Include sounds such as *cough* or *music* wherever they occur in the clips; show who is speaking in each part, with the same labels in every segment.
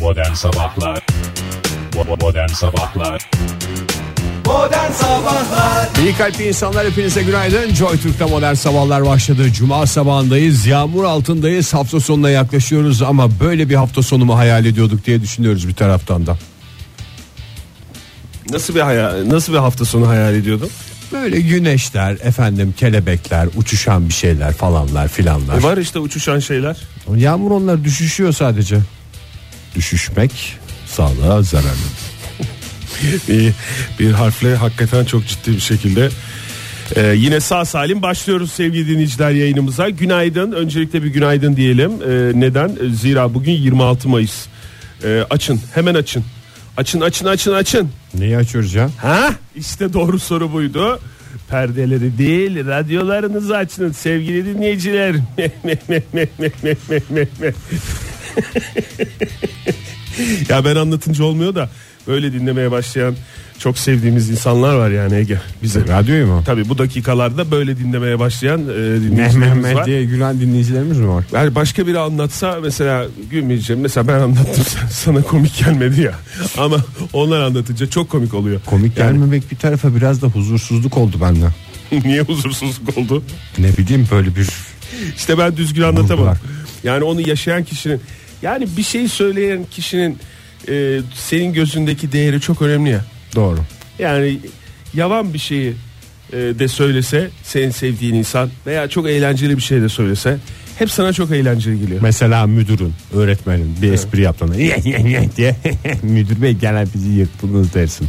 Speaker 1: Modern Sabahlar Bo- Modern Sabahlar
Speaker 2: Modern Sabahlar
Speaker 3: İyi kalpli insanlar hepinize günaydın. Joy Türk'te modern sabahlar başladı. Cuma sabahındayız, yağmur altındayız. Hafta sonuna yaklaşıyoruz ama böyle bir hafta sonu mu hayal ediyorduk diye düşünüyoruz bir taraftan da.
Speaker 2: Nasıl bir hayal, nasıl bir hafta sonu hayal ediyordun?
Speaker 3: Böyle güneşler, efendim kelebekler, uçuşan bir şeyler falanlar filanlar.
Speaker 2: E var işte uçuşan şeyler.
Speaker 3: Yağmur onlar düşüşüyor sadece. Düşüşmek sağlığa zararlı.
Speaker 2: *laughs* İyi. bir harfle hakikaten çok ciddi bir şekilde. Ee, yine sağ salim başlıyoruz sevgili dinleyiciler yayınımıza. Günaydın. Öncelikle bir günaydın diyelim. Ee, neden? Zira bugün 26 Mayıs. Ee, açın, hemen açın. Açın, açın, açın, açın.
Speaker 3: Neyi açıyoruz ya?
Speaker 2: Ha? İşte doğru soru buydu. Perdeleri değil, radyolarınızı açın sevgili dinleyiciler. *laughs* ya ben anlatınca olmuyor da böyle dinlemeye başlayan çok sevdiğimiz insanlar var yani Ege bize.
Speaker 3: E, Radyoyu mu?
Speaker 2: Tabii bu dakikalarda böyle dinlemeye başlayan e,
Speaker 3: Meh meh
Speaker 2: dinleyicilerimiz
Speaker 3: meh
Speaker 2: var.
Speaker 3: diye gülen dinleyicilerimiz mi var?
Speaker 2: Yani başka biri anlatsa mesela gülmeyeceğim. Mesela ben anlattım *laughs* sana komik gelmedi ya. Ama onlar anlatınca çok komik oluyor.
Speaker 3: Komik gelmemek bir tarafa biraz da huzursuzluk oldu bende.
Speaker 2: *laughs* Niye huzursuzluk oldu?
Speaker 3: Ne bileyim böyle bir
Speaker 2: İşte ben düzgün anlatamam.
Speaker 3: Vurdular.
Speaker 2: Yani onu yaşayan kişinin yani bir şey söyleyen kişinin e, senin gözündeki değeri çok önemli ya.
Speaker 3: doğru.
Speaker 2: Yani yavan bir şeyi e, de söylese senin sevdiğin insan veya çok eğlenceli bir şey de söylese hep sana çok eğlenceli geliyor.
Speaker 3: Mesela müdürün, öğretmenin bir espri yaptığında "Ye, ye, ye" diye *laughs* müdür bey gelen bizi yırttınız dersin.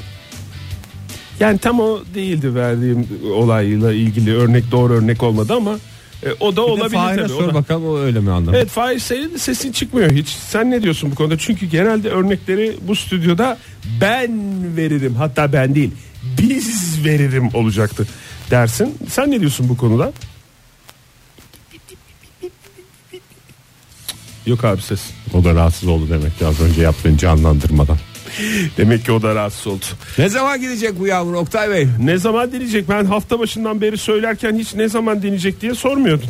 Speaker 2: Yani tam o değildi verdiğim olayla ilgili örnek doğru örnek olmadı ama e, o da olabilir tabii. o da-
Speaker 3: sor bakalım o öyle mi anlamış?
Speaker 2: Evet Fahir senin de sesin çıkmıyor hiç. Sen ne diyorsun bu konuda? Çünkü genelde örnekleri bu stüdyoda ben veririm. Hatta ben değil. Biz veririm olacaktı dersin. Sen ne diyorsun bu konuda? Yok abi ses.
Speaker 3: O da rahatsız oldu demek ki az önce yaptığın canlandırmadan.
Speaker 2: *laughs* Demek ki o da rahatsız oldu.
Speaker 3: Ne zaman gidecek bu yağmur Oktay Bey?
Speaker 2: Ne zaman deneyecek? Ben hafta başından beri söylerken hiç ne zaman deneyecek diye sormuyordun.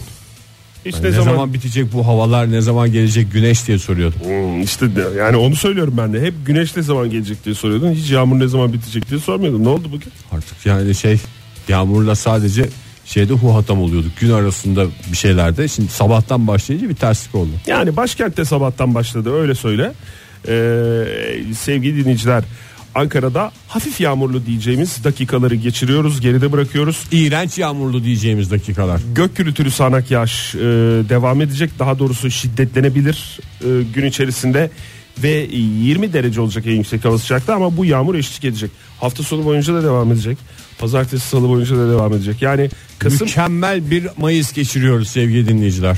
Speaker 2: Hiç
Speaker 3: Ne, zaman... bitecek bu havalar ne zaman gelecek güneş diye soruyordum.
Speaker 2: Hmm, işte de- yani onu söylüyorum ben de. Hep güneş ne zaman gelecek diye soruyordun. Hiç yağmur ne zaman bitecek diye sormuyordun. Ne oldu bugün?
Speaker 3: Artık yani şey yağmurla sadece şeyde huhatam oluyorduk gün arasında bir şeylerde. Şimdi sabahtan başlayınca bir terslik oldu.
Speaker 2: Yani başkentte sabahtan başladı öyle söyle. Ee, sevgili dinleyiciler Ankara'da hafif yağmurlu diyeceğimiz dakikaları geçiriyoruz geride bırakıyoruz.
Speaker 3: İğrenç yağmurlu diyeceğimiz dakikalar.
Speaker 2: Gök gürültülü sağanak yağış e, devam edecek daha doğrusu şiddetlenebilir e, gün içerisinde ve 20 derece olacak en yüksek hava sıcaklığı ama bu yağmur eşlik edecek. Hafta sonu boyunca da devam edecek. Pazartesi salı boyunca da devam edecek. Yani Kasım
Speaker 3: Mükemmel bir Mayıs geçiriyoruz sevgili dinleyiciler.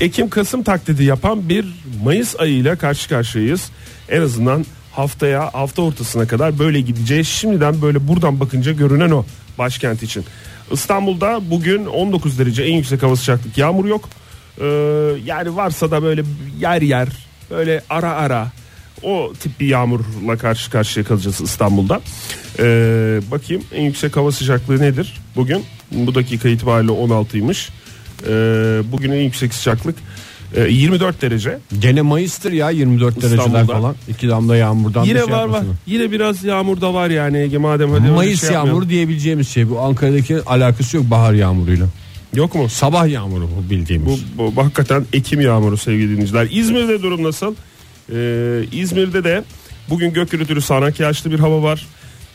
Speaker 2: *laughs* Ekim-Kasım taklidi yapan bir Mayıs ayıyla karşı karşıyayız. En azından haftaya hafta ortasına kadar böyle gideceğiz. Şimdiden böyle buradan bakınca görünen o başkent için. İstanbul'da bugün 19 derece en yüksek hava sıcaklık yağmur yok. Ee, yani varsa da böyle yer yer böyle ara ara o tip bir yağmurla karşı karşıya kalacağız İstanbul'da. Ee, bakayım en yüksek hava sıcaklığı nedir bugün? Bu dakika itibariyle 16'ymış. Ee, bugün en yüksek sıcaklık e, 24 derece.
Speaker 3: Gene Mayıs'tır ya 24 dereceler
Speaker 2: İstanbul'da.
Speaker 3: falan. İki damla yağmurdan da
Speaker 2: Yine
Speaker 3: şey
Speaker 2: var var.
Speaker 3: yapmasın.
Speaker 2: Yine biraz yağmur da var yani Ege madem hadi öyle
Speaker 3: Mayıs
Speaker 2: şey yapmayalım.
Speaker 3: yağmuru diyebileceğimiz şey bu Ankara'daki alakası yok bahar yağmuruyla.
Speaker 2: yok mu?
Speaker 3: Sabah yağmuru bu bildiğimiz.
Speaker 2: Bu, bu hakikaten Ekim yağmuru sevgili dinleyiciler. İzmir'de durum nasıl? Ee, İzmir'de de bugün gök gürültülü sağanak yağışlı bir hava var.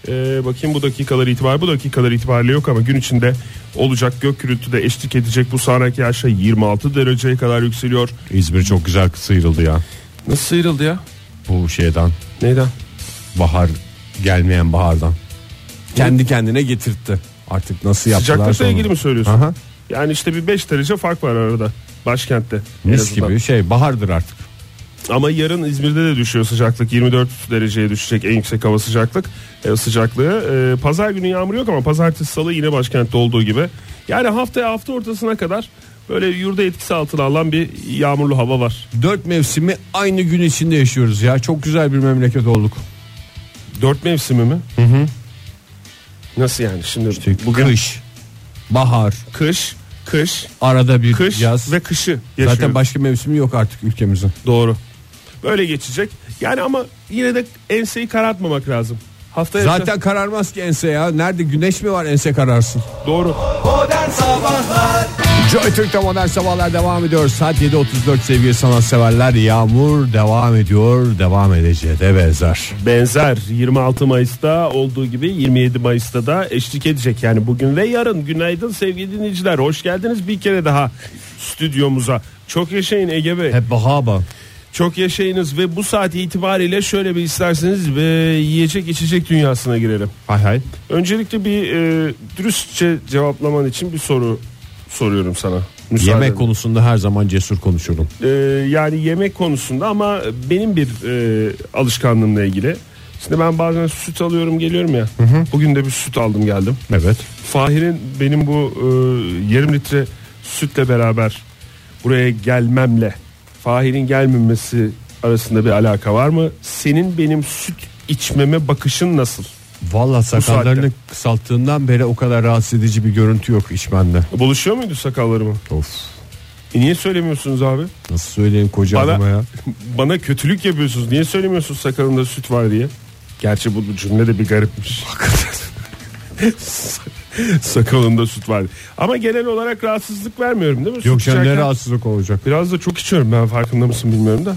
Speaker 2: Ee, bakayım bu dakikalar itibariyle bu dakikalar itibariyle yok ama gün içinde olacak gök gürültü de eşlik edecek bu sağanak yağışa 26 dereceye kadar yükseliyor.
Speaker 3: İzmir çok güzel sıyrıldı ya
Speaker 2: Nasıl sıyrıldı ya?
Speaker 3: bu şeyden
Speaker 2: Neyden?
Speaker 3: bahar gelmeyen bahardan. Kendi kendine getirtti. Artık nasıl yaptılar
Speaker 2: Sıcaklıkla
Speaker 3: sonra.
Speaker 2: ilgili mi söylüyorsun?
Speaker 3: Aha.
Speaker 2: Yani işte bir 5 derece fark var arada başkentte. en
Speaker 3: Mis
Speaker 2: azından.
Speaker 3: gibi şey bahardır artık.
Speaker 2: Ama yarın İzmir'de de düşüyor sıcaklık. 24 dereceye düşecek en yüksek hava sıcaklık e, sıcaklığı. E, pazar günü yağmur yok ama pazartesi salı yine başkentte olduğu gibi. Yani haftaya hafta ortasına kadar böyle yurda etkisi altına alan bir yağmurlu hava var.
Speaker 3: Dört mevsimi aynı gün içinde yaşıyoruz ya. Çok güzel bir memleket olduk.
Speaker 2: Dört mevsimi mi? Nasıl yani şimdi?
Speaker 3: Bugün... Kış, bahar,
Speaker 2: Kış, kış,
Speaker 3: arada bir
Speaker 2: kış
Speaker 3: yaz.
Speaker 2: ve kışı yaşıyoruz.
Speaker 3: Zaten başka mevsimi yok artık ülkemizin.
Speaker 2: Doğru. Böyle geçecek. Yani ama yine de enseyi karartmamak lazım. Haftaya
Speaker 3: Zaten kararmaz ki ense ya. Nerede güneş mi var ense kararsın.
Speaker 2: doğru.
Speaker 3: Joy Türk'te modern sabahlar devam ediyor. Saat 7.34 sevgili sanatseverler. Yağmur devam ediyor. Devam edeceği de benzer.
Speaker 2: Benzer 26 Mayıs'ta olduğu gibi 27 Mayıs'ta da eşlik edecek. Yani bugün ve yarın günaydın sevgili dinleyiciler. Hoş geldiniz bir kere daha stüdyomuza. Çok yaşayın Ege Bey.
Speaker 3: Hep bahaba.
Speaker 2: Çok yaşayınız ve bu saat itibariyle şöyle bir isterseniz ve yiyecek içecek dünyasına girelim.
Speaker 3: Hay hay.
Speaker 2: Öncelikle bir e, dürüstçe cevaplaman için bir soru soruyorum sana. Müsaade
Speaker 3: Yemek
Speaker 2: edin.
Speaker 3: konusunda her zaman cesur konuşurum.
Speaker 2: E, yani yemek konusunda ama benim bir e, alışkanlığımla ilgili. Şimdi ben bazen süt alıyorum geliyorum ya. Bugün de bir süt aldım geldim.
Speaker 3: Evet.
Speaker 2: Fahir'in benim bu e, yarım litre sütle beraber buraya gelmemle Fahir'in gelmemesi arasında bir alaka var mı? Senin benim süt içmeme bakışın nasıl?
Speaker 3: Valla sakallarını
Speaker 2: saatte.
Speaker 3: kısalttığından beri o kadar rahatsız edici bir görüntü yok içmende.
Speaker 2: Buluşuyor muydu sakallarımı?
Speaker 3: Of.
Speaker 2: E niye söylemiyorsunuz abi?
Speaker 3: Nasıl söyleyeyim koca
Speaker 2: Bana-
Speaker 3: adama ya.
Speaker 2: Bana kötülük yapıyorsunuz. Niye söylemiyorsunuz sakalımda süt var diye? Gerçi bu cümle de bir garipmiş. *laughs* sakalında süt var. Ama genel olarak rahatsızlık vermiyorum değil mi?
Speaker 3: Yok
Speaker 2: Süt
Speaker 3: canım ne
Speaker 2: içerken-
Speaker 3: rahatsızlık olacak.
Speaker 2: Biraz da çok içiyorum ben farkında mısın bilmiyorum da.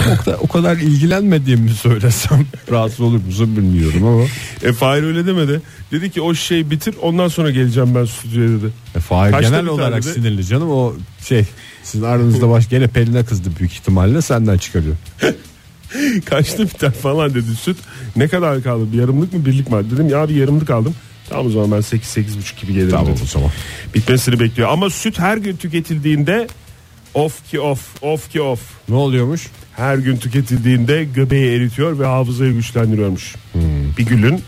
Speaker 3: O kadar, o kadar ilgilenmediğimi söylesem *laughs* rahatsız olur musun bilmiyorum ama.
Speaker 2: E Fahir öyle demedi. Dedi ki o şey bitir ondan sonra geleceğim ben stüdyoya dedi. *laughs*
Speaker 3: E, Fahir
Speaker 2: Kaçta
Speaker 3: genel
Speaker 2: bir
Speaker 3: olarak
Speaker 2: tane de?
Speaker 3: sinirli canım o şey sizin aranızda baş gene Pelin'e kızdı büyük ihtimalle senden çıkarıyor.
Speaker 2: Kaçtı biter falan dedi süt. Ne kadar kaldı bir yarımlık mı birlik mi? aldı? Dedim ya bir yarımlık aldım. Tamam o zaman ben 8-8,5 gibi gelirim
Speaker 3: Tamam
Speaker 2: dedi.
Speaker 3: o zaman.
Speaker 2: Bitmesini bekliyor. Ama süt her gün tüketildiğinde of ki of, of ki of.
Speaker 3: Ne oluyormuş?
Speaker 2: Her gün tüketildiğinde göbeği eritiyor ve hafızayı güçlendiriyormuş. Hmm, Bir gülün.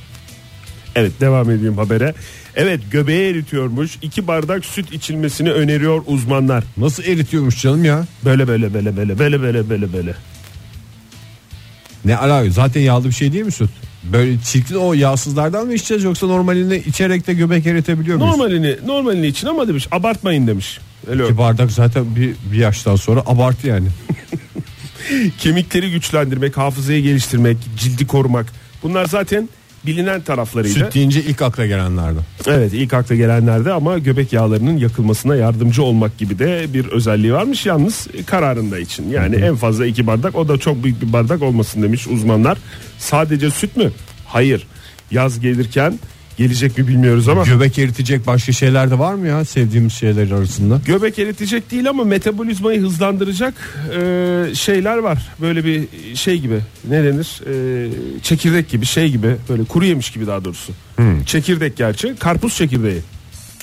Speaker 2: Evet devam edeyim habere. Evet göbeği eritiyormuş. İki bardak süt içilmesini öneriyor uzmanlar.
Speaker 3: Nasıl eritiyormuş canım ya?
Speaker 2: Böyle böyle böyle böyle böyle böyle böyle böyle.
Speaker 3: Ne ala zaten yağlı bir şey değil mi süt? Böyle çirkin o yağsızlardan mı içeceğiz yoksa normalini içerek de göbek eritebiliyor muyuz?
Speaker 2: Normalini normalini için ama demiş abartmayın demiş. Öyle.
Speaker 3: İki bardak zaten bir, bir yaştan sonra abartı yani.
Speaker 2: Kemikleri güçlendirmek, hafızayı geliştirmek, cildi korumak. Bunlar zaten bilinen taraflarıydı.
Speaker 3: Süt deyince ilk akla gelenlerden.
Speaker 2: Evet ilk akla gelenlerde ama göbek yağlarının yakılmasına yardımcı olmak gibi de bir özelliği varmış. Yalnız e, kararında için yani en fazla iki bardak o da çok büyük bir bardak olmasın demiş uzmanlar. Sadece süt mü? Hayır. Yaz gelirken gelecek mi bilmiyoruz ama.
Speaker 3: Göbek eritecek başka şeyler de var mı ya sevdiğimiz şeyler arasında?
Speaker 2: Göbek eritecek değil ama metabolizmayı hızlandıracak e, şeyler var. Böyle bir şey gibi ne denir? E, çekirdek gibi şey gibi böyle kuru yemiş gibi daha doğrusu. Çekirdek gerçi karpuz çekirdeği.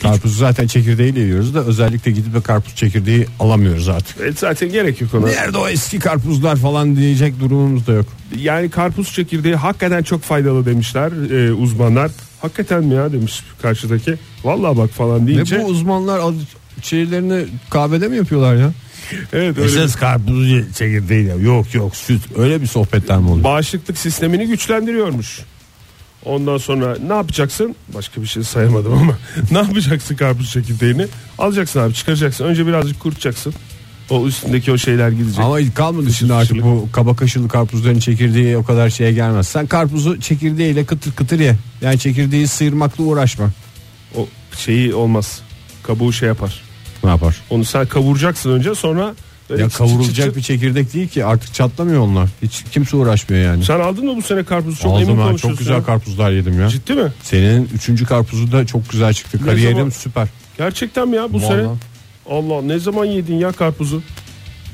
Speaker 3: Karpuzu zaten çekirdeğiyle yiyoruz da özellikle gidip de karpuz çekirdeği alamıyoruz artık.
Speaker 2: E, zaten gerek yok ona.
Speaker 3: Nerede o eski karpuzlar falan diyecek durumumuz da yok.
Speaker 2: Yani karpuz çekirdeği hakikaten çok faydalı demişler e, uzmanlar. Hakikaten mi ya demiş karşıdaki. Vallahi bak falan deyince.
Speaker 3: Ve bu uzmanlar al- şeylerini kahvede mi yapıyorlar ya?
Speaker 2: Evet öyle.
Speaker 3: Esas karpuz çekirdeğiyle yok yok süt öyle bir sohbetler mi oluyor?
Speaker 2: Bağışıklık sistemini güçlendiriyormuş. Ondan sonra ne yapacaksın? Başka bir şey sayamadım ama. *laughs* ne yapacaksın karpuz çekirdeğini? Alacaksın abi çıkaracaksın. Önce birazcık kurutacaksın. O üstündeki o şeyler gidecek.
Speaker 3: Ama ilk kalmadı şimdi artık bu kaba kaşılı karpuzların çekirdeği o kadar şeye gelmez. Sen karpuzu çekirdeğiyle kıtır kıtır ye. Yani çekirdeği sıyırmakla uğraşma.
Speaker 2: O şeyi olmaz. Kabuğu şey yapar.
Speaker 3: Ne yapar?
Speaker 2: Onu sen kavuracaksın önce sonra böyle
Speaker 3: Ya
Speaker 2: çıt çıt çıt çıt.
Speaker 3: kavrulacak bir çekirdek değil ki artık çatlamıyor onlar. Hiç kimse uğraşmıyor yani.
Speaker 2: Sen aldın mı bu sene karpuzu? Çok
Speaker 3: Aldım
Speaker 2: emin
Speaker 3: ben,
Speaker 2: konuşuyorsun.
Speaker 3: çok güzel
Speaker 2: ya.
Speaker 3: karpuzlar yedim ya.
Speaker 2: Ciddi mi?
Speaker 3: Senin üçüncü karpuzu da çok güzel çıktı. Kariyerim
Speaker 2: zaman-
Speaker 3: süper.
Speaker 2: Gerçekten mi ya bu
Speaker 3: Vallahi.
Speaker 2: sene? Allah ne zaman yedin ya karpuzu?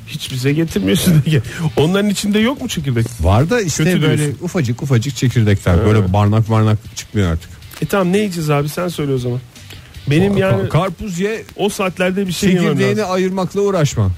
Speaker 2: Hiç bize getirmiyorsun. diye. Onların içinde yok mu çekirdek?
Speaker 3: Var da işte
Speaker 2: Kötü
Speaker 3: böyle
Speaker 2: diyorsun.
Speaker 3: ufacık ufacık çekirdekler. Böyle barnak barnak çıkmıyor artık.
Speaker 2: E tamam ne yiyeceğiz abi sen söyle o zaman. Benim
Speaker 3: Ka-
Speaker 2: yani
Speaker 3: karpuz ye
Speaker 2: o saatlerde bir şey yemem
Speaker 3: çekirdeğini
Speaker 2: lazım.
Speaker 3: ayırmakla uğraşma.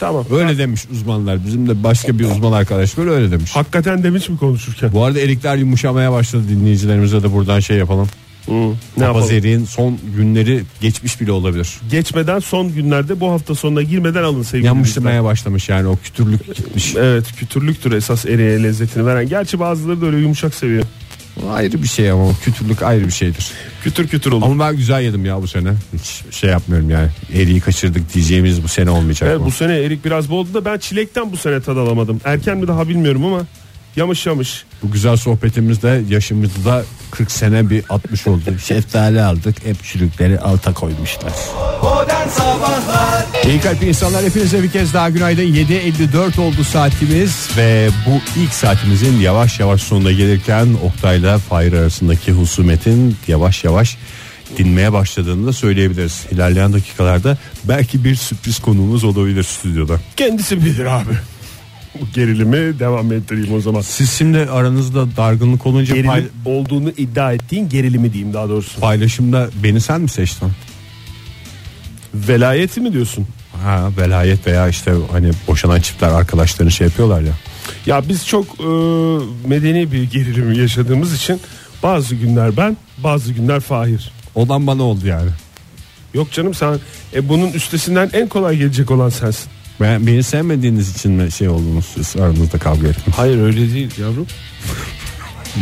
Speaker 2: Tamam.
Speaker 3: Öyle demiş uzmanlar. Bizim de başka bir uzman arkadaş böyle öyle demiş.
Speaker 2: Hakikaten demiş mi konuşurken?
Speaker 3: Bu arada erikler yumuşamaya başladı dinleyicilerimize de buradan şey yapalım.
Speaker 2: Hı, ne yapalım?
Speaker 3: Papaz eriğin son günleri geçmiş bile olabilir.
Speaker 2: Geçmeden son günlerde bu hafta sonuna girmeden alın sevgili dinleyiciler.
Speaker 3: Yanmışlamaya başlamış yani o kütürlük gitmiş.
Speaker 2: Evet kütürlüktür esas eriye lezzetini veren. Gerçi bazıları da öyle yumuşak seviyor.
Speaker 3: O Ayrı bir şey ama o kütürlük ayrı bir şeydir.
Speaker 2: Kütür kütür olur.
Speaker 3: Ama ben güzel yedim ya bu sene. Hiç şey yapmıyorum yani. Eriği kaçırdık diyeceğimiz bu sene olmayacak.
Speaker 2: Evet,
Speaker 3: bu.
Speaker 2: bu sene erik biraz boldu da ben çilekten bu sene tad alamadım. Erken mi daha bilmiyorum ama yamış yamış.
Speaker 3: Bu güzel sohbetimizde yaşımızda 40 sene bir 60 oldu. Şeftali aldık. Hep çürükleri alta koymuşlar.
Speaker 4: Modern Sabahlar
Speaker 3: İyi kalpli insanlar hepinize bir kez daha günaydın. 7.54 oldu saatimiz ve bu ilk saatimizin yavaş yavaş sonuna gelirken Oktay'la Fahir arasındaki husumetin yavaş yavaş dinmeye başladığını da söyleyebiliriz. İlerleyen dakikalarda belki bir sürpriz konuğumuz olabilir stüdyoda.
Speaker 2: Kendisi bilir abi. Bu gerilimi devam ettireyim o zaman.
Speaker 3: Siz şimdi aranızda dargınlık olunca
Speaker 2: Gerilim
Speaker 3: pay-
Speaker 2: olduğunu iddia ettiğin gerilimi diyeyim daha doğrusu.
Speaker 3: paylaşımda beni sen mi seçtin?
Speaker 2: Velayeti mi diyorsun?
Speaker 3: Ha velayet veya işte hani boşanan çiftler arkadaşlarını şey yapıyorlar ya.
Speaker 2: Ya biz çok e, medeni bir gerilim yaşadığımız için bazı günler ben bazı günler Fahir.
Speaker 3: Odan bana oldu yani.
Speaker 2: Yok canım sen e, bunun üstesinden en kolay gelecek olan sensin.
Speaker 3: Ben, beni sevmediğiniz için mi şey oldunuz siz aranızda
Speaker 2: *laughs*
Speaker 3: kavga ettiniz?
Speaker 2: Hayır öyle değil yavrum.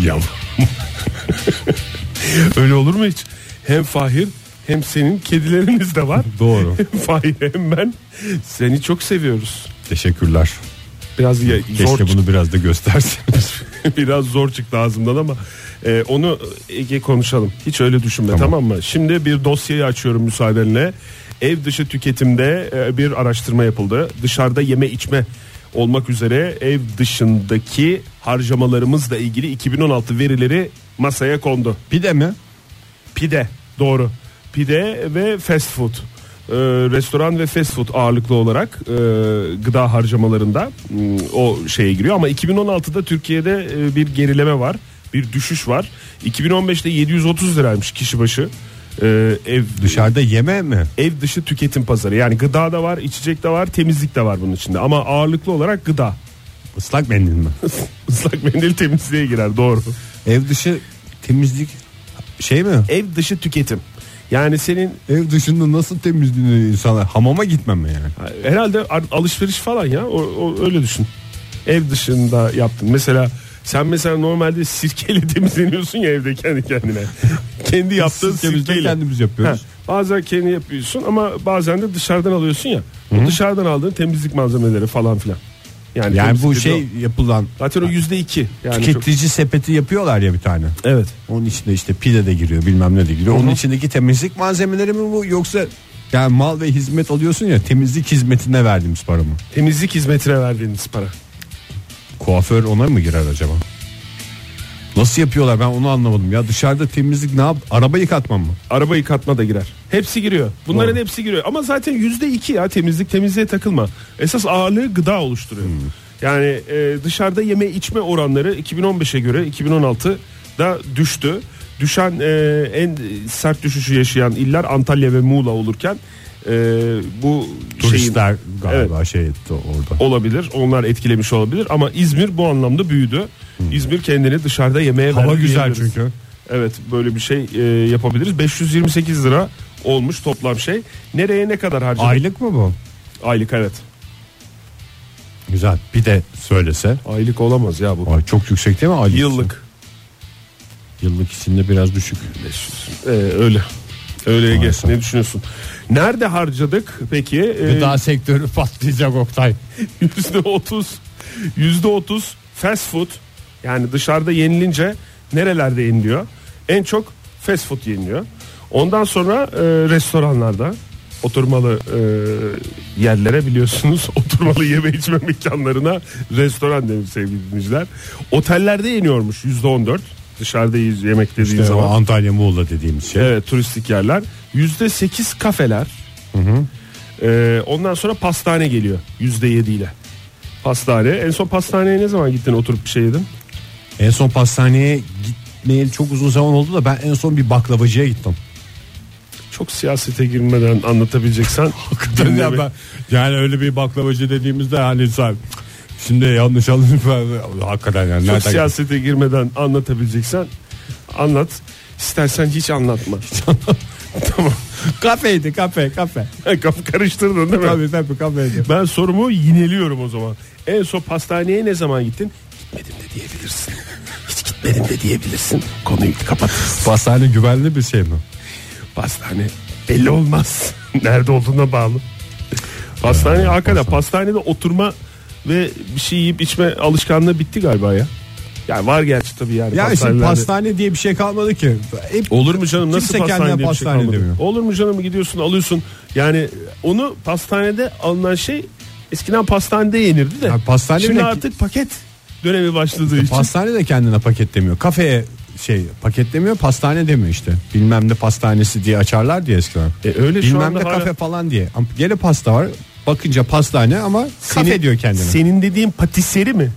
Speaker 3: Yavrum.
Speaker 2: Öyle olur mu hiç? Hem Fahir hem senin kedileriniz de *laughs* var.
Speaker 3: Doğru.
Speaker 2: Fahir hem ben seni çok seviyoruz.
Speaker 3: Teşekkürler.
Speaker 2: Biraz ya,
Speaker 3: Keşke
Speaker 2: zor
Speaker 3: bunu biraz
Speaker 2: *laughs*
Speaker 3: da gösterseniz.
Speaker 2: biraz zor çıktı ağzımdan ama e, onu Ege konuşalım. Hiç öyle düşünme tamam. mı? Şimdi bir dosyayı açıyorum müsaadenle. Ev dışı tüketimde e, bir araştırma yapıldı. Dışarıda yeme içme olmak üzere ev dışındaki harcamalarımızla ilgili 2016 verileri masaya kondu.
Speaker 3: Pide mi?
Speaker 2: Pide doğru. Pide ve fast food. Ee, restoran ve fast food ağırlıklı olarak e, gıda harcamalarında mm, o şeye giriyor ama 2016'da Türkiye'de e, bir gerileme var. Bir düşüş var. 2015'te 730 liraymış kişi başı. Ee, ev
Speaker 3: Dışarıda yeme mi?
Speaker 2: ev dışı tüketim pazarı. Yani gıda da var, içecek de var, temizlik de var bunun içinde ama ağırlıklı olarak gıda. *laughs*
Speaker 3: Islak mendil mi?
Speaker 2: Islak mendil temizliğe girer doğru.
Speaker 3: Ev dışı temizlik şey mi?
Speaker 2: Ev dışı tüketim. Yani senin
Speaker 3: Ev dışında nasıl temizliğini insanlar? Hamama gitmem mi yani?
Speaker 2: Herhalde ar- alışveriş falan ya o, o- öyle düşün. Ev dışında yaptın. Mesela sen mesela normalde sirkeyle *laughs* temizleniyorsun ya evde kendi
Speaker 3: *laughs*
Speaker 2: kendine. kendi yaptığın
Speaker 3: Sirkemizde
Speaker 2: sirkeyle.
Speaker 3: kendimiz yapıyoruz.
Speaker 2: Ha, bazen kendi yapıyorsun ama bazen de dışarıdan alıyorsun ya. O dışarıdan aldığın temizlik malzemeleri falan filan. Yani,
Speaker 3: Yani bu
Speaker 2: temizlik
Speaker 3: şey
Speaker 2: dediği o.
Speaker 3: yapılan
Speaker 2: Zaten o yüzde iki. Yani çok-
Speaker 3: tüketici sepeti yapıyorlar ya bir tane.
Speaker 2: evet.
Speaker 3: Onun içinde işte pide de giriyor bilmem ne de giriyor. Onun içindeki temizlik malzemeleri mi bu yoksa yani mal ve hizmet alıyorsun ya temizlik hizmetine verdiğimiz para mı?
Speaker 2: Temizlik hizmetine verdiğiniz para.
Speaker 3: Kuaför ona mı girer acaba? Nasıl yapıyorlar ben onu anlamadım ya dışarıda temizlik ne yap? Araba yıkatmam mı?
Speaker 2: Araba yıkatma da girer. Hepsi giriyor. Bunların hepsi giriyor. Ama zaten yüzde iki ya temizlik temizliğe takılma. Esas ağırlığı gıda oluşturuyor. Yani e, dışarıda yeme içme oranları 2015'e göre 2016'da düştü. Düşen e, en sert düşüşü yaşayan iller Antalya ve Muğla olurken e, bu şeyin
Speaker 3: Turistler galiba şey etti orada.
Speaker 2: olabilir. Onlar etkilemiş olabilir ama İzmir bu anlamda büyüdü. İzmir kendini dışarıda yemeğe
Speaker 3: Hmm. Hava
Speaker 2: verdi
Speaker 3: güzel
Speaker 2: diyebiliriz.
Speaker 3: çünkü.
Speaker 2: Evet böyle bir şey e, yapabiliriz. 528 lira olmuş toplam şey. Nereye ne kadar harcadık?
Speaker 3: Aylık mı bu?
Speaker 2: Aylık evet.
Speaker 3: Güzel bir de söylese.
Speaker 2: Aylık olamaz ya bu.
Speaker 3: Ay çok yüksek değil mi? Aylık.
Speaker 2: Yıllık.
Speaker 3: Yıllık içinde biraz düşük.
Speaker 2: Ee, öyle. Öyle Ege.
Speaker 3: Maalesef.
Speaker 2: Ne düşünüyorsun? Nerede harcadık peki? Ee,
Speaker 3: Gıda sektörü patlayacak Oktay.
Speaker 2: *laughs* %30 %30 fast food yani dışarıda yenilince nerelerde yeniliyor? En çok fast food yeniliyor. Ondan sonra e, restoranlarda oturmalı e, yerlere biliyorsunuz *laughs* oturmalı yeme içme mekanlarına restoran denir sevgili dinleyiciler. Otellerde yeniyormuş %14 dışarıda yiyiz- yemek dediği
Speaker 3: İşte o
Speaker 2: zaman.
Speaker 3: Antalya Muğla dediğimiz şey.
Speaker 2: Evet turistik yerler. Yüzde sekiz kafeler. Ee, ondan sonra pastane geliyor yüzde ile. Pastane. En son pastaneye ne zaman gittin oturup bir şey yedin?
Speaker 3: En son pastaneye gitmeyeli çok uzun zaman oldu da ben en son bir baklavacıya *laughs* gittim.
Speaker 2: Çok siyasete girmeden *laughs* anlatabileceksen. dinleme.
Speaker 3: yani öyle bir baklavacı dediğimizde hani sen şimdi yanlış anladın *laughs* hakikaten yani.
Speaker 2: Çok
Speaker 3: nereden-
Speaker 2: siyasete girmeden anlatabileceksen anlat. İstersen hiç anlatma. *laughs* tamam.
Speaker 3: Kafeydi kafe kafe.
Speaker 2: Kafı karıştırdın değil mi?
Speaker 3: Tabii tabii kafeydi.
Speaker 2: Ben sorumu yineliyorum o zaman. En son pastaneye ne zaman gittin? Gitmedim de diyebilirsin. *laughs* Hiç gitmedim. benim de diyebilirsin. Konuyu kapatırız.
Speaker 3: Pastane güvenli bir şey mi?
Speaker 2: Pastane belli olmaz. *laughs* Nerede olduğuna bağlı. Pastane hakikaten pastanede oturma ve bir şey yiyip içme alışkanlığı bitti galiba ya. Yani var gerçi tabii yani.
Speaker 3: Ya şimdi
Speaker 2: pastanelerde.
Speaker 3: pastane diye bir şey kalmadı ki. Hep
Speaker 2: Olur mu canım nasıl
Speaker 3: Kimse
Speaker 2: pastane
Speaker 3: kendine
Speaker 2: diye bir şey
Speaker 3: pastane
Speaker 2: kalmadı?
Speaker 3: demiyor.
Speaker 2: Olur mu canım gidiyorsun alıyorsun. Yani onu pastanede alınan şey eskiden pastanede yenirdi de.
Speaker 3: Ya pastane
Speaker 2: Şimdi
Speaker 3: bile-
Speaker 2: artık paket dönemi başladığı için.
Speaker 3: Pastane de kendine paketlemiyor. Kafeye şey paketlemiyor pastane demiyor işte. Bilmem ne pastanesi diye açarlar diye eskiden.
Speaker 2: E öyle şu
Speaker 3: Bilmem
Speaker 2: anda
Speaker 3: ne
Speaker 2: hala-
Speaker 3: kafe falan diye. Ama Gene pasta var. Bakınca pastane ama kafe diyor kendine.
Speaker 2: Senin dediğin patiseri mi?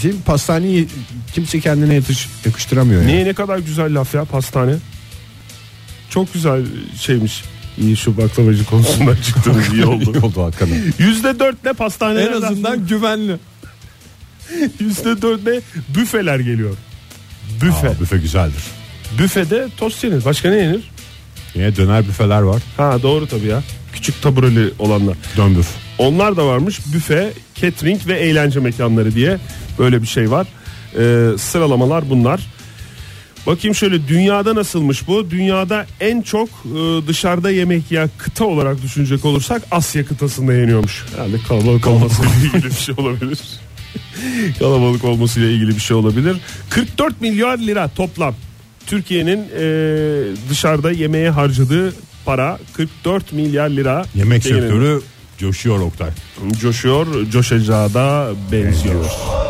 Speaker 3: Cem, Pastaneyi kimse kendine yatış, yakıştıramıyor. yani.
Speaker 2: Niye ne kadar güzel laf ya pastane. Çok güzel şeymiş. İyi şu baklavacı konusundan
Speaker 3: *laughs*
Speaker 2: çıktınız iyi oldu.
Speaker 3: İyi oldu hakikaten.
Speaker 2: Yüzde dörtle pastane
Speaker 3: en azından güvenli.
Speaker 2: yüzde dörtle büfeler geliyor. Büfe.
Speaker 3: Aa, büfe güzeldir.
Speaker 2: Büfede tost yenir. Başka ne yenir?
Speaker 3: Yine döner büfeler var.
Speaker 2: Ha doğru tabii ya. Küçük tabureli olanlar.
Speaker 3: Döndür.
Speaker 2: Onlar da varmış. Büfe, catering ve eğlence mekanları diye böyle bir şey var. Ee, sıralamalar bunlar. Bakayım şöyle dünyada nasılmış bu? Dünyada en çok e, dışarıda yemek yiyen kıta olarak düşünecek olursak Asya kıtasında yeniyormuş. Yani kalabalık olmasıyla ilgili bir şey olabilir. *laughs* kalabalık olmasıyla ilgili bir şey olabilir. 44 milyar lira toplam. Türkiye'nin e, dışarıda yemeğe harcadığı para 44 milyar lira.
Speaker 3: Yemek
Speaker 2: Değerinde.
Speaker 3: sektörü coşuyor Oktay.
Speaker 2: Coşuyor, coşacağı da benziyor.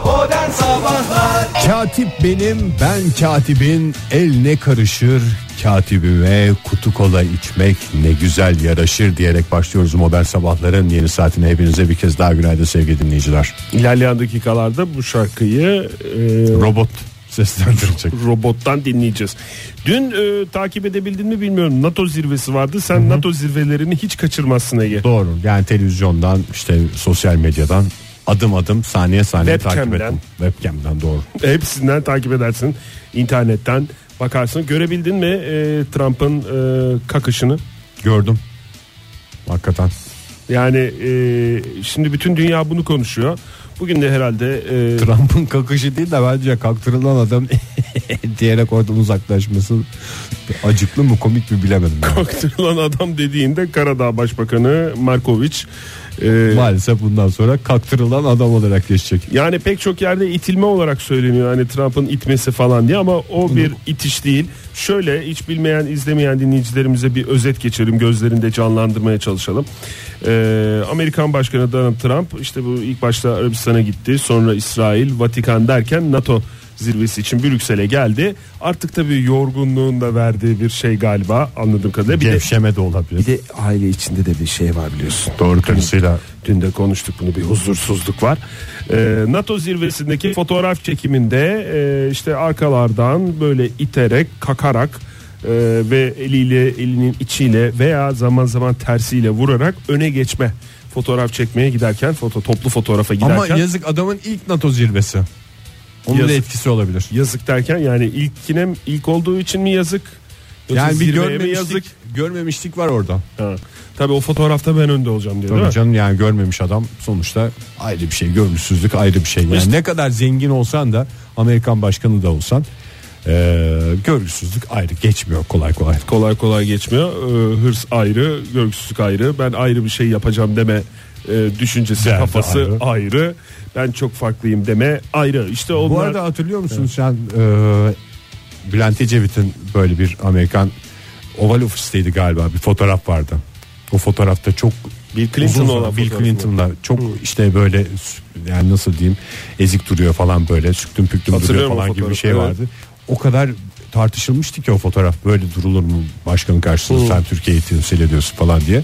Speaker 4: Modern Sabahlar
Speaker 3: Katip benim, ben katibin el ne karışır katibime kutu kola içmek ne güzel yaraşır diyerek başlıyoruz modern sabahların yeni saatine hepinize bir kez daha günaydın sevgili dinleyiciler.
Speaker 2: İlerleyen dakikalarda bu şarkıyı e,
Speaker 3: Robot seslendirecek.
Speaker 2: robottan dinleyeceğiz. Dün e, takip edebildin mi bilmiyorum. NATO zirvesi vardı. Sen NATO zirvelerini hiç kaçırmazsın Ege.
Speaker 3: Doğru yani televizyondan işte sosyal medyadan adım adım saniye saniye takip
Speaker 2: Webcam'den.
Speaker 3: ettim. Webcam'den doğru.
Speaker 2: Hepsinden takip edersin. İnternetten bakarsın. Görebildin mi e, Trump'ın e, kakışını?
Speaker 3: Gördüm. Hakikaten.
Speaker 2: Yani e, şimdi bütün dünya bunu konuşuyor. Bugün de herhalde e,
Speaker 3: Trump'ın kakışı değil de bence kaktırılan adam *laughs* diyerek oradan uzaklaşması acıklı mı komik mi bilemedim.
Speaker 2: *laughs*
Speaker 3: yani.
Speaker 2: baktırılan adam dediğinde Karadağ Başbakanı Markoviç.
Speaker 3: Ee,
Speaker 2: e,
Speaker 3: Maalesef bundan sonra kaktırılan adam olarak geçecek.
Speaker 2: Yani pek çok yerde itilme olarak söyleniyor hani Trump'ın itmesi falan diye ama o bir itiş değil. Şöyle hiç bilmeyen izlemeyen dinleyicilerimize bir özet geçelim gözlerinde canlandırmaya çalışalım. Ee, Amerikan Başkanı Donald Trump işte bu ilk başta Arabistan'a gitti sonra İsrail Vatikan derken NATO zirvesi için Brüksel'e geldi. Artık tabii yorgunluğun da verdiği bir şey galiba anladığım kadarıyla. Bir de,
Speaker 3: Gevşeme de olabilir.
Speaker 2: bir de aile içinde de bir şey var biliyorsun.
Speaker 3: Doğru karısıyla
Speaker 2: Dün de konuştuk bunu bir huzursuzluk var. Ee, NATO zirvesindeki fotoğraf çekiminde e, işte arkalardan böyle iterek, kakarak e, ve eliyle elinin içiyle veya zaman zaman tersiyle vurarak öne geçme fotoğraf çekmeye giderken foto toplu fotoğrafa giderken
Speaker 3: Ama yazık adamın ilk NATO zirvesi. Onun da
Speaker 2: Yazık.
Speaker 3: etkisi olabilir.
Speaker 2: yazık derken yani ilkine mi- ilk olduğu için mi yazık? Yoksa
Speaker 3: Yani bir
Speaker 2: zirveye mi
Speaker 3: görmemişlik, görmemişlik var orada.
Speaker 2: Ha. Tabii o fotoğrafta ben önde olacağım diye değil mi?
Speaker 3: Tabii canım yani görmemiş adam sonuçta ayrı bir şey görmüşsüzlük ayrı bir şey. Yani
Speaker 2: İşte-
Speaker 3: ne kadar zengin olsan da Amerikan başkanı da olsan eee görgüsüzlük ayrı geçmiyor kolay kolay.
Speaker 2: kolay kolay geçmiyor. Ee, hırs ayrı, görgüsüzlük ayrı. Ben ayrı bir şey yapacağım deme e, düşüncesi,
Speaker 3: Derdi
Speaker 2: kafası ayrı.
Speaker 3: ayrı.
Speaker 2: Ben çok farklıyım deme ayrı. İşte onlar
Speaker 3: Bu arada hatırlıyor musun sen eee Bülent Ecevit'in böyle bir Amerikan oval ofisteydi galiba bir fotoğraf vardı. O fotoğrafta çok
Speaker 2: Bill Clinton'la
Speaker 3: uzun-
Speaker 2: olan
Speaker 3: Bill
Speaker 2: fotoğrafı.
Speaker 3: Clinton'la çok işte böyle sü- yani nasıl diyeyim ezik duruyor falan böyle süktüm püktüm duruyor
Speaker 2: Hatırlıyorum o
Speaker 3: falan gibi bir
Speaker 2: fotoğrafı,
Speaker 3: şey
Speaker 2: evet.
Speaker 3: vardı. O kadar tartışılmıştı ki o fotoğraf böyle durulur mu başkanın karşısında sen Türkiye'yi temsil ediyorsun falan diye.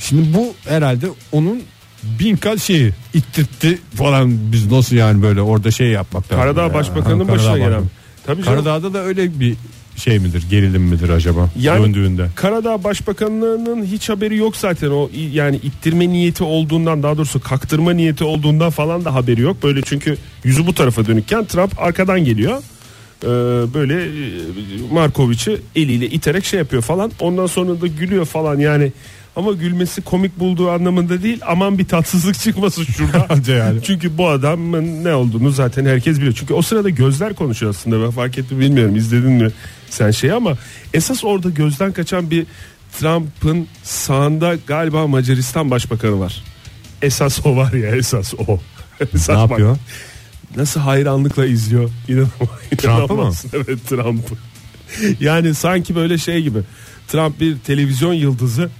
Speaker 3: Şimdi bu herhalde onun bin kat şeyi ittirtti falan biz nasıl yani böyle orada şey yapmak lazım.
Speaker 2: Karadağ
Speaker 3: Ya.
Speaker 2: Başbakanı'nın
Speaker 3: Ha,
Speaker 2: başına
Speaker 3: Karadağ
Speaker 2: gelen.
Speaker 3: Başbakanı.
Speaker 2: Tabii canım.
Speaker 3: Karadağ'da da öyle bir şey midir gerilim midir acaba
Speaker 2: Yani-
Speaker 3: döndüğünde?
Speaker 2: Karadağ Başbakanlığı'nın hiç haberi yok zaten o i- yani ittirme niyeti olduğundan daha doğrusu kaktırma niyeti olduğundan falan da haberi yok. Böyle çünkü yüzü bu tarafa dönükken Trump arkadan geliyor. Ee, böyle e, Markovic'i eliyle iterek şey yapıyor falan. Ondan sonra da gülüyor falan yani Ama gülmesi komik bulduğu anlamında değil. Aman bir tatsızlık *laughs* çıkmasın şurada.
Speaker 3: *laughs* Anca yani.
Speaker 2: Çünkü bu adamın ne olduğunu zaten herkes biliyor. Çünkü o sırada gözler konuşuyor aslında. Ben fark ettim bilmiyorum izledin mi sen şeyi ama esas orada gözden kaçan bir Trump'ın sağında galiba Macaristan Başbakanı var. Esas o var ya esas o. *laughs* Esas
Speaker 3: Ne
Speaker 2: bak-
Speaker 3: yapıyor?
Speaker 2: Nasıl hayranlıkla izliyor. İnanamazsın.
Speaker 3: Trump'ı mı?
Speaker 2: Evet Trump'ı. *laughs* Yani sanki böyle şey gibi. Trump bir televizyon yıldızı.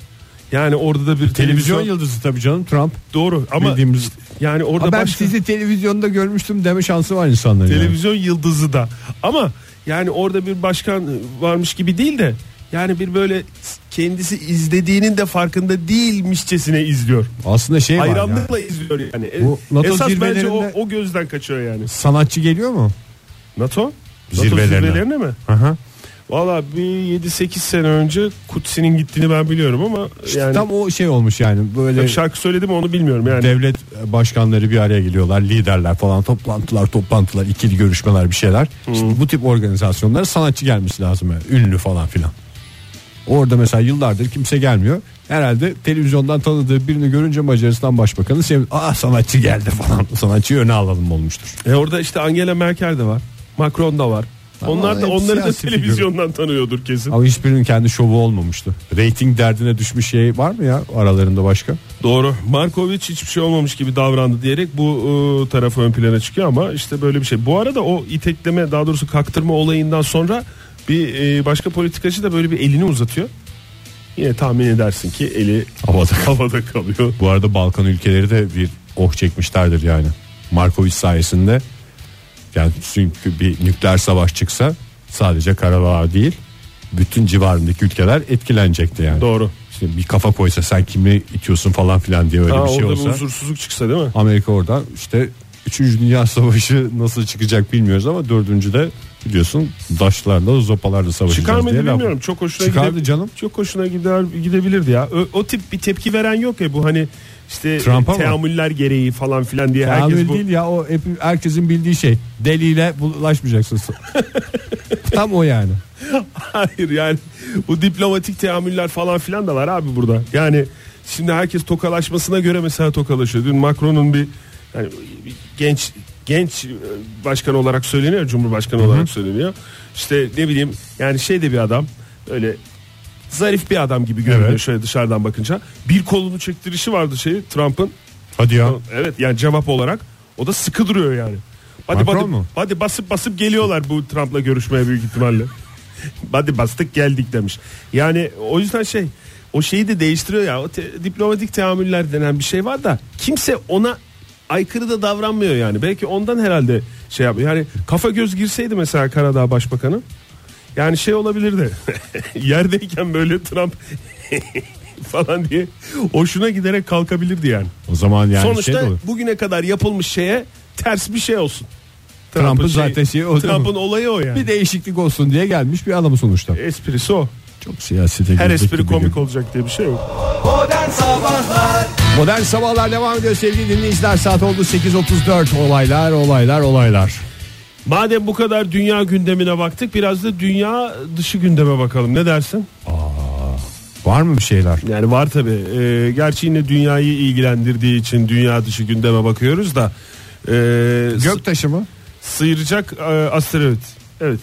Speaker 2: Yani orada da bir televizyon,
Speaker 3: Televizyon yıldızı tabii canım Trump.
Speaker 2: doğru ama
Speaker 3: Bildiğimiz-
Speaker 2: yani orada
Speaker 3: Ha, ben
Speaker 2: başka
Speaker 3: sizi televizyonda görmüştüm deme şansı var insanların. yani.
Speaker 2: televizyon yıldızı da ama yani orada bir başkan varmış gibi değil de yani bir böyle kendisi izlediğinin de farkında değilmişçesine izliyor.
Speaker 3: Aslında şey var ya.
Speaker 2: Hayranlıkla izliyor yani.
Speaker 3: Bu NATO
Speaker 2: Esas bence o,
Speaker 3: zirvelerinde-
Speaker 2: o gözden kaçıyor yani.
Speaker 3: Sanatçı geliyor mu?
Speaker 2: NATO?
Speaker 3: Zirvelerine.
Speaker 2: NATO zirvelerine mi?
Speaker 3: Aha.
Speaker 2: Valla bir 7-8 sene önce Kutsi'nin gittiğini ben biliyorum ama yani
Speaker 3: Tam o şey olmuş yani böyle
Speaker 2: Tabii şarkı söyledim onu bilmiyorum yani.
Speaker 3: devlet başkanları bir araya geliyorlar liderler falan toplantılar toplantılar ikili görüşmeler bir şeyler. İşte bu tip organizasyonlara sanatçı gelmesi lazım yani, ünlü falan filan. Orada mesela yıllardır kimse gelmiyor. Herhalde televizyondan tanıdığı birini görünce Macaristan Başbakanı sevdi. Aa sanatçı geldi falan. *laughs* Sanatçıyı öne alalım olmuştur.
Speaker 2: E orada işte Angela Merkel de var. Macron da var.
Speaker 3: Tamam,
Speaker 2: Onlar da
Speaker 3: hep
Speaker 2: onları da
Speaker 3: siyasi figür.
Speaker 2: televizyondan tanıyordur kesin.
Speaker 3: Ama hiçbirinin kendi şovu olmamıştı. Rating derdine düşmüş şey var mı ya aralarında başka?
Speaker 2: Doğru. Markovic hiçbir şey olmamış gibi davrandı diyerek bu e, tarafı ön plana çıkıyor ama işte böyle bir şey. Bu arada o itekleme daha doğrusu kaktırma olayından sonra bir e, başka politikacı da böyle bir elini uzatıyor. Yine tahmin edersin ki eli
Speaker 3: Havada.
Speaker 2: havada kalıyor.
Speaker 3: Bu arada Balkan ülkeleri de bir oh çekmişlerdir yani. Markovic sayesinde yani çünkü bir nükleer savaş çıksa sadece Karabağ değil bütün civarındaki ülkeler etkilenecekti yani.
Speaker 2: Doğru.
Speaker 3: İşte bir kafa koysa sen kimi itiyorsun falan filan diye öyle
Speaker 2: Ha,
Speaker 3: bir şey
Speaker 2: orada
Speaker 3: olsa.
Speaker 2: bir huzursuzluk çıksa değil mi?
Speaker 3: Amerika oradan işte 3. Dünya Savaşı nasıl çıkacak bilmiyoruz ama 4. de biliyorsun daşlarla zopalarla savaşacağız
Speaker 2: Çıkar
Speaker 3: diye
Speaker 2: mıydı
Speaker 3: laf-
Speaker 2: bilmiyorum. Çok hoşuna
Speaker 3: Çıkardı
Speaker 2: gide-
Speaker 3: canım.
Speaker 2: Çok hoşuna gider gidebilirdi ya. Ö- O, tip bir tepki veren yok ya bu hani işte
Speaker 3: Trump'a mı?
Speaker 2: teamüller gereği falan filan diye herkes
Speaker 3: Tahammül
Speaker 2: bu.
Speaker 3: değil ya o hep- herkesin bildiği şey. Deliyle bulaşmayacaksın. *laughs* Tam o yani.
Speaker 2: *laughs* Hayır yani bu diplomatik teamüller falan filan da var abi burada. Yani şimdi herkes tokalaşmasına göre mesela tokalaşıyor. Dün Macron'un bir, yani bir genç genç e, başkan olarak söyleniyor, cumhurbaşkanı olarak söyleniyor. İşte ne bileyim yani şey de bir adam öyle zarif bir adam gibi görünüyor
Speaker 3: Evet.
Speaker 2: şöyle dışarıdan bakınca. Bir kolunu çektirişi vardı şeyi Trump'ın.
Speaker 3: Hadi ya.
Speaker 2: Evet yani cevap olarak o da sıkı duruyor yani. Hadi
Speaker 3: Macron
Speaker 2: hadi,
Speaker 3: mu?
Speaker 2: hadi basıp basıp geliyorlar bu Trump'la görüşmeye büyük ihtimalle. *laughs* hadi bastık geldik demiş. Yani o yüzden şey o şeyi de değiştiriyor ya. O te- diplomatik teamüller denen bir şey var da kimse ona aykırı da davranmıyor yani. Belki ondan herhalde şey yapıyor. Yani kafa göz girseydi mesela Karadağ Başbakanı yani şey olabilirdi. *laughs* Yerdeyken böyle Trump *laughs* falan diye hoşuna giderek kalkabilirdi yani.
Speaker 3: O zaman yani
Speaker 2: Sonuçta
Speaker 3: şey de olur.
Speaker 2: bugüne kadar yapılmış şeye ters bir şey olsun.
Speaker 3: Trump'ın
Speaker 2: şey-
Speaker 3: zaten şeyi o değil
Speaker 2: Trump'ın
Speaker 3: mi?
Speaker 2: olayı o yani.
Speaker 3: Bir değişiklik olsun diye gelmiş bir adam sonuçta.
Speaker 2: esprisi o.
Speaker 3: E, Çok siyasete
Speaker 2: Her
Speaker 3: girdik
Speaker 2: espri
Speaker 3: gibi
Speaker 2: komik
Speaker 3: gibi.
Speaker 2: olacak diye bir şey yok.
Speaker 4: Modern Sabahlar
Speaker 3: Modern sabahlar devam ediyor sevgili dinleyiciler. Saat oldu 8.34. Olaylar olaylar olaylar.
Speaker 2: Madem bu kadar dünya gündemine baktık biraz da dünya dışı gündeme bakalım. Ne dersin?
Speaker 3: Var mı bir şeyler?
Speaker 2: Yani var tabi. gerçi yine dünyayı ilgilendirdiği için dünya dışı gündeme bakıyoruz da. ee, sı-
Speaker 3: Göktaşı mı?
Speaker 2: sıyıracak e, asteroid. Evet.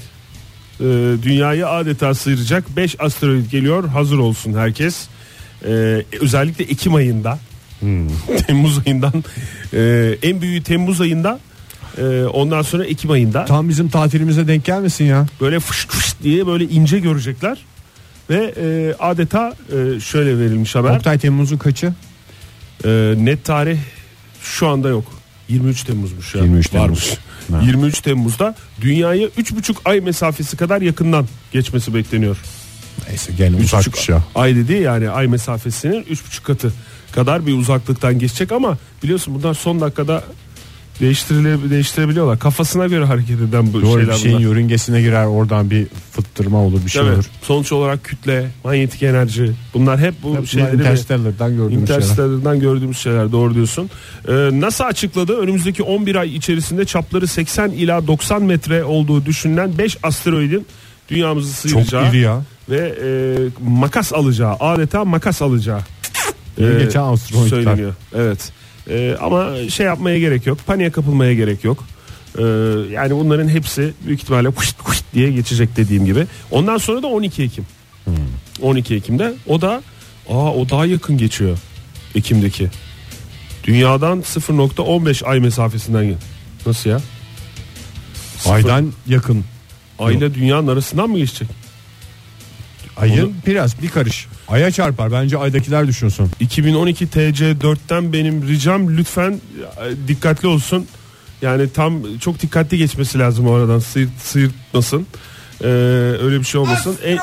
Speaker 2: E, dünyayı adeta sıyıracak 5 asteroid geliyor. Hazır olsun herkes. E, özellikle Ekim ayında. *laughs* Temmuz ayından e, en büyüğü Temmuz ayında. e, ondan sonra Ekim ayında
Speaker 3: Tam bizim tatilimize denk gelmesin ya.
Speaker 2: böyle fış fış diye böyle ince görecekler ve e, adeta e, şöyle verilmiş haber.
Speaker 3: Oktay Temmuz'un kaçı?
Speaker 2: E, net tarih şu anda yok. 23 Temmuz'muş ya.
Speaker 3: 23 Temmuz.
Speaker 2: Varmış.
Speaker 3: Ha.
Speaker 2: 23 Temmuz'da dünyaya 3,5 ay mesafesi kadar yakından geçmesi bekleniyor.
Speaker 3: Neyse gene uzakmış
Speaker 2: 3,5
Speaker 3: ya.
Speaker 2: ay dedi yani ay mesafesinin 3,5 katı kadar bir uzaklıktan geçecek ama biliyorsun bunlar son dakikada değiştirile değiştirebiliyorlar. Kafasına göre hareket eden bu
Speaker 3: Doğru bir şey
Speaker 2: şeyler
Speaker 3: şeyin
Speaker 2: bunlar.
Speaker 3: yörüngesine girer oradan bir fıttırma olur bir şey
Speaker 2: Tabii.
Speaker 3: olur.
Speaker 2: Sonuç olarak kütle, manyetik enerji bunlar hep bu
Speaker 3: Hep
Speaker 2: şeyleri
Speaker 3: bunlar Interstellar'dan gördüğümüz şeyler.
Speaker 2: Interstellar'dan gördüğümüz şeyler doğru diyorsun. Ee, NASA açıkladı önümüzdeki 11 ay içerisinde çapları 80 ila 90 metre olduğu düşünülen 5 asteroidin dünyamızı
Speaker 3: Çok
Speaker 2: sıyıracağı
Speaker 3: iri ya.
Speaker 2: ve e, makas alacağı adeta makas alacağı
Speaker 3: Yeni
Speaker 2: e,
Speaker 3: geçen Armstrong'lar.
Speaker 2: söyleniyor. Evet. E, ama şey yapmaya gerek yok. Paniğe kapılmaya gerek yok. E, yani bunların hepsi büyük ihtimalle kuşt kuşt diye geçecek dediğim gibi. Ondan sonra da 12 Ekim.
Speaker 3: Hmm.
Speaker 2: 12 Ekim'de o da aa o daha yakın geçiyor Ekim'deki. Dünyadan 0.15 ay mesafesinden gel. Nasıl ya?
Speaker 3: Aydan yakın.
Speaker 2: Ay ile dünyanın arasından mı geçecek?
Speaker 3: Ayın
Speaker 2: Onu-
Speaker 3: biraz bir karış. Aya çarpar. Bence aydakiler düşünsün.
Speaker 2: 2012 TC4'ten benim ricam lütfen e, dikkatli olsun. Yani tam çok dikkatli geçmesi lazım o aradan sıyırt, sıyırtmasın. Ee, öyle bir şey olmasın. E,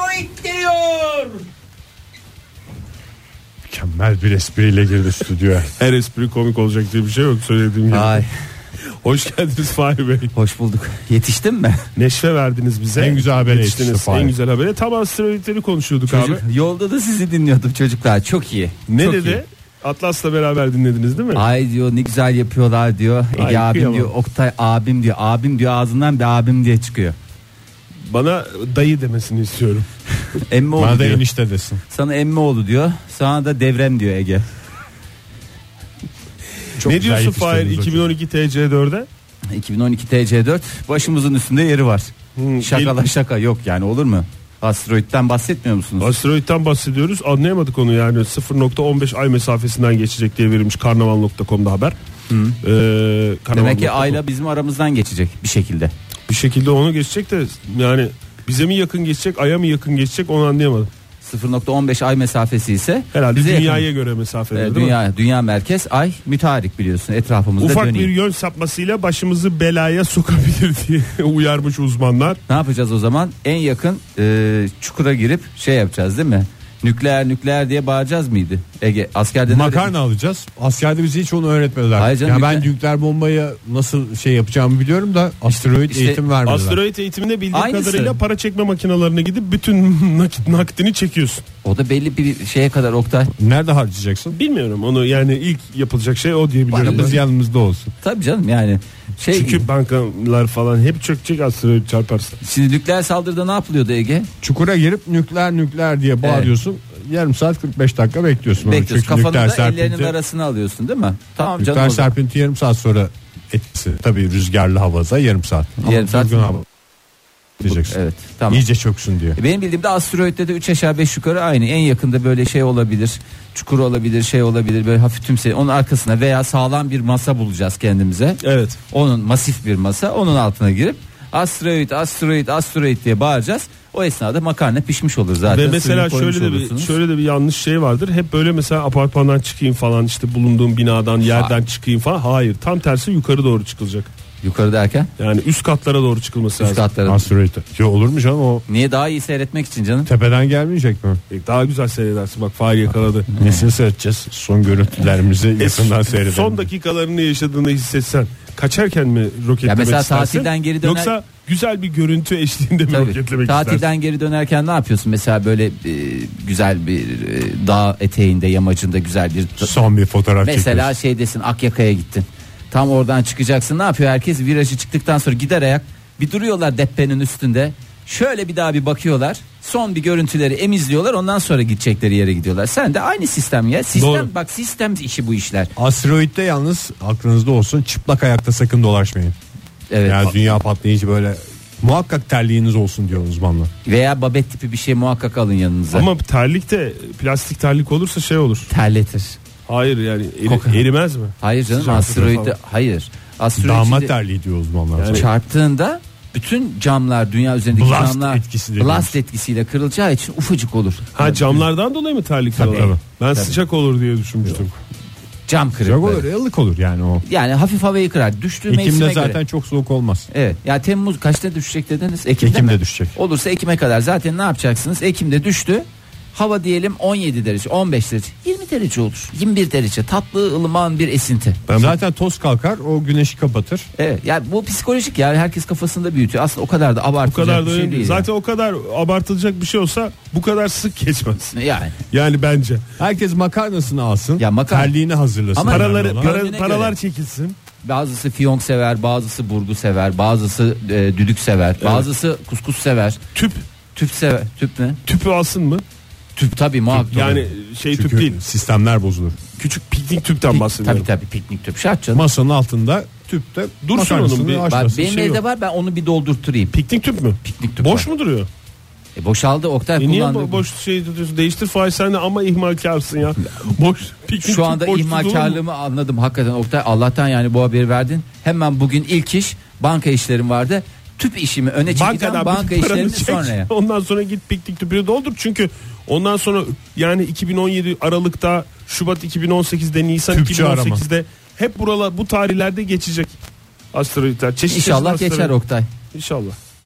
Speaker 3: Mükemmel bir espriyle girdi stüdyoya.
Speaker 2: her espri komik olacak diye bir şey yok söylediğim gibi.
Speaker 5: Ay
Speaker 2: Hoş geldiniz Fahri Bey.
Speaker 5: hoş bulduk. Yetiştim mi?
Speaker 2: Neşve verdiniz bize.
Speaker 3: En güzel habere
Speaker 2: Yetiştiniz.
Speaker 3: yetişti Fahri.
Speaker 2: En güzel habere. Tam asteroidleri konuşuyorduk abi.
Speaker 5: Çocuk, *laughs* yolda da sizi dinliyordum çocuklar. Çok iyi.
Speaker 2: Ne
Speaker 5: Çok
Speaker 2: dedi? Atlas'la beraber dinlediniz değil mi?
Speaker 5: iyi. Ay diyor ne güzel yapıyorlar diyor. Ege
Speaker 2: Ay,
Speaker 5: abim
Speaker 2: kıyamam.
Speaker 5: diyor, Oktay abim diyor. Abim diyor ağzından bir abim diye çıkıyor.
Speaker 2: Bana dayı demesini istiyorum.
Speaker 5: Emmi
Speaker 3: Bana
Speaker 5: oldu
Speaker 3: da
Speaker 5: diyor.
Speaker 3: enişte desin.
Speaker 5: Sana emmi oldu diyor. Sana da devrem diyor Ege.
Speaker 3: Çok
Speaker 2: ne
Speaker 3: güzel
Speaker 2: diyorsun
Speaker 3: yetiştirdiniz
Speaker 2: Fahir
Speaker 3: hocam.
Speaker 2: 2012 TC4'e?
Speaker 5: 2012 TC4 başımızın üstünde yeri var.
Speaker 2: Hmm,
Speaker 5: Şakala şaka yok yani olur mu? Asteroidden bahsetmiyor musunuz?
Speaker 2: Asteroid'den bahsediyoruz. Anlayamadık onu yani 0.15 ay mesafesinden geçecek diye verilmiş karnaval.com'da haber. Ee, karnaval.com.
Speaker 5: Demek ki Ayla bizim aramızdan geçecek bir şekilde.
Speaker 2: bir şekilde onu geçecek de yani bize mi yakın geçecek, aya mı yakın geçecek onu anlayamadım.
Speaker 5: 0.15 ay mesafesi ise
Speaker 2: Herhalde
Speaker 5: bize yakın.
Speaker 2: dünyaya göre mesafede
Speaker 5: Ee,
Speaker 2: değil mi?
Speaker 5: dünya dünya merkez ay mütarik biliyorsun etrafımızda
Speaker 2: Ufak
Speaker 5: dönüyor.
Speaker 2: bir yön sapmasıyla başımızı belaya sokabilir *laughs* diye uyarmış uzmanlar.
Speaker 5: Ne yapacağız o zaman? En yakın e, çukura girip şey yapacağız değil mi? Nükleer nükleer diye bağıracağız mıydı? Ege askerde de öyle-
Speaker 3: Makarna alacağız. Askerde bize hiç onu öğretmediler.
Speaker 5: Hayır canım,
Speaker 3: ya ben
Speaker 5: nükleer-
Speaker 3: nükleer bombaya nasıl şey yapacağımı biliyorum da asteroid
Speaker 5: İşte
Speaker 3: eğitim vermediler.
Speaker 2: Asteroid eğitiminde bildiğim
Speaker 5: Aynısı.
Speaker 2: kadarıyla para çekme makinalarına gidip bütün *laughs* nakit nakdini çekiyorsun.
Speaker 5: O da belli bir şeye kadar Oktay.
Speaker 3: Nerede harcayacaksın?
Speaker 2: Bilmiyorum onu yani ilk yapılacak şey o diyebilirim.
Speaker 3: Paramız yanımızda olsun.
Speaker 5: Tabii canım yani şey
Speaker 2: Çünkü bankalar falan hep çökecek asteroid çarparsa.
Speaker 5: şimdi nükleer saldırıda ne yapılıyordu Ege?
Speaker 3: Çukura girip nükleer nükleer diye bağırıyorsun. Yarım saat 45 dakika bekliyorsun.
Speaker 5: Bekliyorsun
Speaker 3: Çünkü
Speaker 5: kafanı da
Speaker 3: serpinti-
Speaker 5: ellerinin arasına alıyorsun değil mi? Tamam canım.
Speaker 3: Nükleer
Speaker 5: o zaman.
Speaker 3: serpinti yarım saat sonra etkisi. Tabii rüzgarlı havada yarım saat. Ama
Speaker 5: Yarım saat-
Speaker 3: durgun hava diyeceksin.
Speaker 5: Evet tamam.
Speaker 3: İyice çöksün diye.
Speaker 5: E, Benim bildiğimde asteroitte de 3 aşağı 5 yukarı aynı. En yakında böyle şey olabilir. Çukur olabilir, şey olabilir. Böyle hafif tümse onun arkasına veya sağlam bir masa bulacağız kendimize.
Speaker 2: Evet.
Speaker 5: Onun masif bir masa. Onun altına girip asteroid, asteroid, asteroid diye bağıracağız. O esnada makarna pişmiş olur zaten.
Speaker 2: Ve mesela
Speaker 5: Suyunu
Speaker 2: şöyle de
Speaker 5: koymuş
Speaker 2: bir
Speaker 5: olursunuz.
Speaker 2: şöyle de bir yanlış şey vardır. Hep böyle mesela apartmandan çıkayım falan işte bulunduğum binadan yerden çıkayım falan. Hayır, tam tersi yukarı doğru çıkılacak.
Speaker 5: yukarı derken
Speaker 2: Yani üst katlara doğru çıkılması
Speaker 5: üst
Speaker 2: lazım.
Speaker 5: katlara.
Speaker 3: Asteroid. Ya olur mu canım o
Speaker 5: Niye daha iyi seyretmek için canım?
Speaker 3: tepeden gelmeyecek mi?
Speaker 2: E, Daha güzel seyredersin bak Fahir
Speaker 5: *laughs*
Speaker 2: yakaladı. E,
Speaker 3: Nesini seyredeceğiz? Son görüntülerimizi yakından seyredelim.
Speaker 2: Son dakikalarını yaşadığını hissetsen kaçarken mi roketlemek
Speaker 5: mesela
Speaker 2: istersin?
Speaker 5: tatilden geri döner-
Speaker 2: Yoksa güzel bir görüntü eşliğinde mi
Speaker 5: Tabii.
Speaker 2: roketlemek
Speaker 5: Tatilden
Speaker 2: istersin?
Speaker 5: geri dönerken ne yapıyorsun? Mesela böyle e, güzel bir e, dağ eteğinde, yamacında güzel bir
Speaker 3: Son bir fotoğraf
Speaker 5: Mesela
Speaker 3: çekiyoruz.
Speaker 5: şeydesin Akyaka'ya gittin. Tam oradan çıkacaksın. Ne yapıyor herkes? Virajı çıktıktan sonra gider ayak. Bir duruyorlar deppenin üstünde. Şöyle bir daha bir bakıyorlar. Son bir görüntüleri emizliyorlar. Ondan sonra gidecekleri yere gidiyorlar. Sen de aynı sistem ya. Sistem
Speaker 2: Doğru.
Speaker 5: bak sistem işi bu işler.
Speaker 3: Asteroid'de yalnız aklınızda olsun çıplak ayakta sakın dolaşmayın.
Speaker 5: Evet.
Speaker 3: Yani dünya patlayıcı böyle muhakkak terliğiniz olsun diyor uzmanlar.
Speaker 5: Veya babet tipi bir şey muhakkak alın yanınıza.
Speaker 2: Ama terlik de plastik terlik olursa şey olur.
Speaker 5: terletir.
Speaker 2: Hayır yani eri-
Speaker 5: Kokan.
Speaker 2: erimez mi?
Speaker 5: Hayır canım
Speaker 2: Sıcak sıcak
Speaker 5: asteroide
Speaker 2: falan.
Speaker 5: hayır. Asteroid
Speaker 3: Damat
Speaker 5: şimdi-
Speaker 3: terliği diyor uzmanlar.
Speaker 2: Yani-
Speaker 5: çarptığında bütün camlar dünya üzerindeki
Speaker 3: Blast
Speaker 5: camlar
Speaker 3: etkisi dediğimiz.
Speaker 5: blast etkisiyle kırılacağı için ufacık olur.
Speaker 2: Ha camlardan dolayı mı terlik
Speaker 3: Tabii.
Speaker 2: diyorlar? Ben
Speaker 5: Tabii.
Speaker 2: sıcak olur diye düşünmüştüm.
Speaker 5: Cam
Speaker 3: Sıcak
Speaker 5: kırıkları.
Speaker 3: olur, ılık olur yani o.
Speaker 5: Yani hafif havayı kırar. Düştüğü
Speaker 3: Ekim'de
Speaker 5: mevsime
Speaker 3: zaten
Speaker 5: göre.
Speaker 3: çok soğuk olmaz.
Speaker 5: Evet. Ya Temmuz kaçta düşecek dediniz? Ekim'de,
Speaker 3: Ekim'de
Speaker 5: mi?
Speaker 3: düşecek.
Speaker 5: Olursa Ekim'e kadar zaten ne yapacaksınız? Ekim'de düştü. Hava diyelim 17 derece, 15 derece, 20 derece olur. 21 derece tatlı ılıman bir esinti.
Speaker 3: zaten toz kalkar o güneşi kapatır.
Speaker 5: Evet. Yani bu psikolojik ya herkes kafasında büyütüyor. Aslında o kadar da
Speaker 2: Bu kadar
Speaker 5: abartılacak
Speaker 2: da
Speaker 5: bir
Speaker 2: önemli.
Speaker 5: şey değil.
Speaker 2: Zaten o kadar abartılacak bir şey olsa bu kadar sık geçmez.
Speaker 5: yani. yani.
Speaker 2: Yani bence.
Speaker 3: Herkes makarnasını alsın.
Speaker 5: Ya makarna-
Speaker 3: Terliğini hazırlasın.
Speaker 5: Ama-
Speaker 2: Paraları
Speaker 3: Önemli olan-
Speaker 2: para-
Speaker 5: Gönlüne
Speaker 2: paralar
Speaker 5: göre.
Speaker 2: çekilsin.
Speaker 5: Bazısı fiyonk sever, bazısı burgu sever, bazısı e, düdük sever, bazısı kuskus sever,
Speaker 2: Tüp
Speaker 5: tüp sever. Tüp ne?
Speaker 2: tüpü alsın mı?
Speaker 5: Tüp tabii muhakkak.
Speaker 2: Yani şey
Speaker 3: Çünkü
Speaker 2: tüp değil.
Speaker 3: sistemler bozulur.
Speaker 2: Küçük piknik tüpten
Speaker 5: Pik-
Speaker 2: bahsediyorum.
Speaker 5: tabii tabii piknik tüp şart canım.
Speaker 3: Masanın altında tüpte
Speaker 2: Dursun onun
Speaker 3: makarnasını
Speaker 2: bir-
Speaker 3: haşlasın,
Speaker 5: Bak,
Speaker 3: şey
Speaker 5: benim evde
Speaker 3: yok.
Speaker 5: var ben onu bir doldurtturayım.
Speaker 2: Piknik tüp mü?
Speaker 5: Piknik tüp
Speaker 2: Boş
Speaker 5: var.
Speaker 2: mu duruyor?
Speaker 5: E, boşaldı Oktay
Speaker 2: E niye
Speaker 5: kullandı.
Speaker 2: bo- boş şey tutuyorsun? Değiştir Fahir sen de ama ihmalkarsın
Speaker 5: *laughs*
Speaker 2: ya. Boş piknik tüp
Speaker 5: Şu anda
Speaker 2: boş tutulur mu?
Speaker 5: ihmalkarlığımı anladım hakikaten Oktay. Allah'tan yani bu haberi verdin. Hemen bugün ilk iş banka işlerim vardı. Tüp işimi öne çekeceğim
Speaker 2: Bankadan
Speaker 5: banka,
Speaker 2: banka
Speaker 5: işlerini
Speaker 2: paranı çek. *laughs*
Speaker 5: sonraya.
Speaker 2: Ondan sonra git piknik tüpünü doldur. Çünkü ondan sonra yani 2017 Aralık'ta Şubat 2018'de Nisan
Speaker 3: Tüpçü
Speaker 2: 2018'de hep buralar bu tarihlerde geçecek asteroidler. Çeşit çeşit
Speaker 5: İnşallah
Speaker 2: asteroid.
Speaker 5: geçer Oktay.
Speaker 2: İnşallah.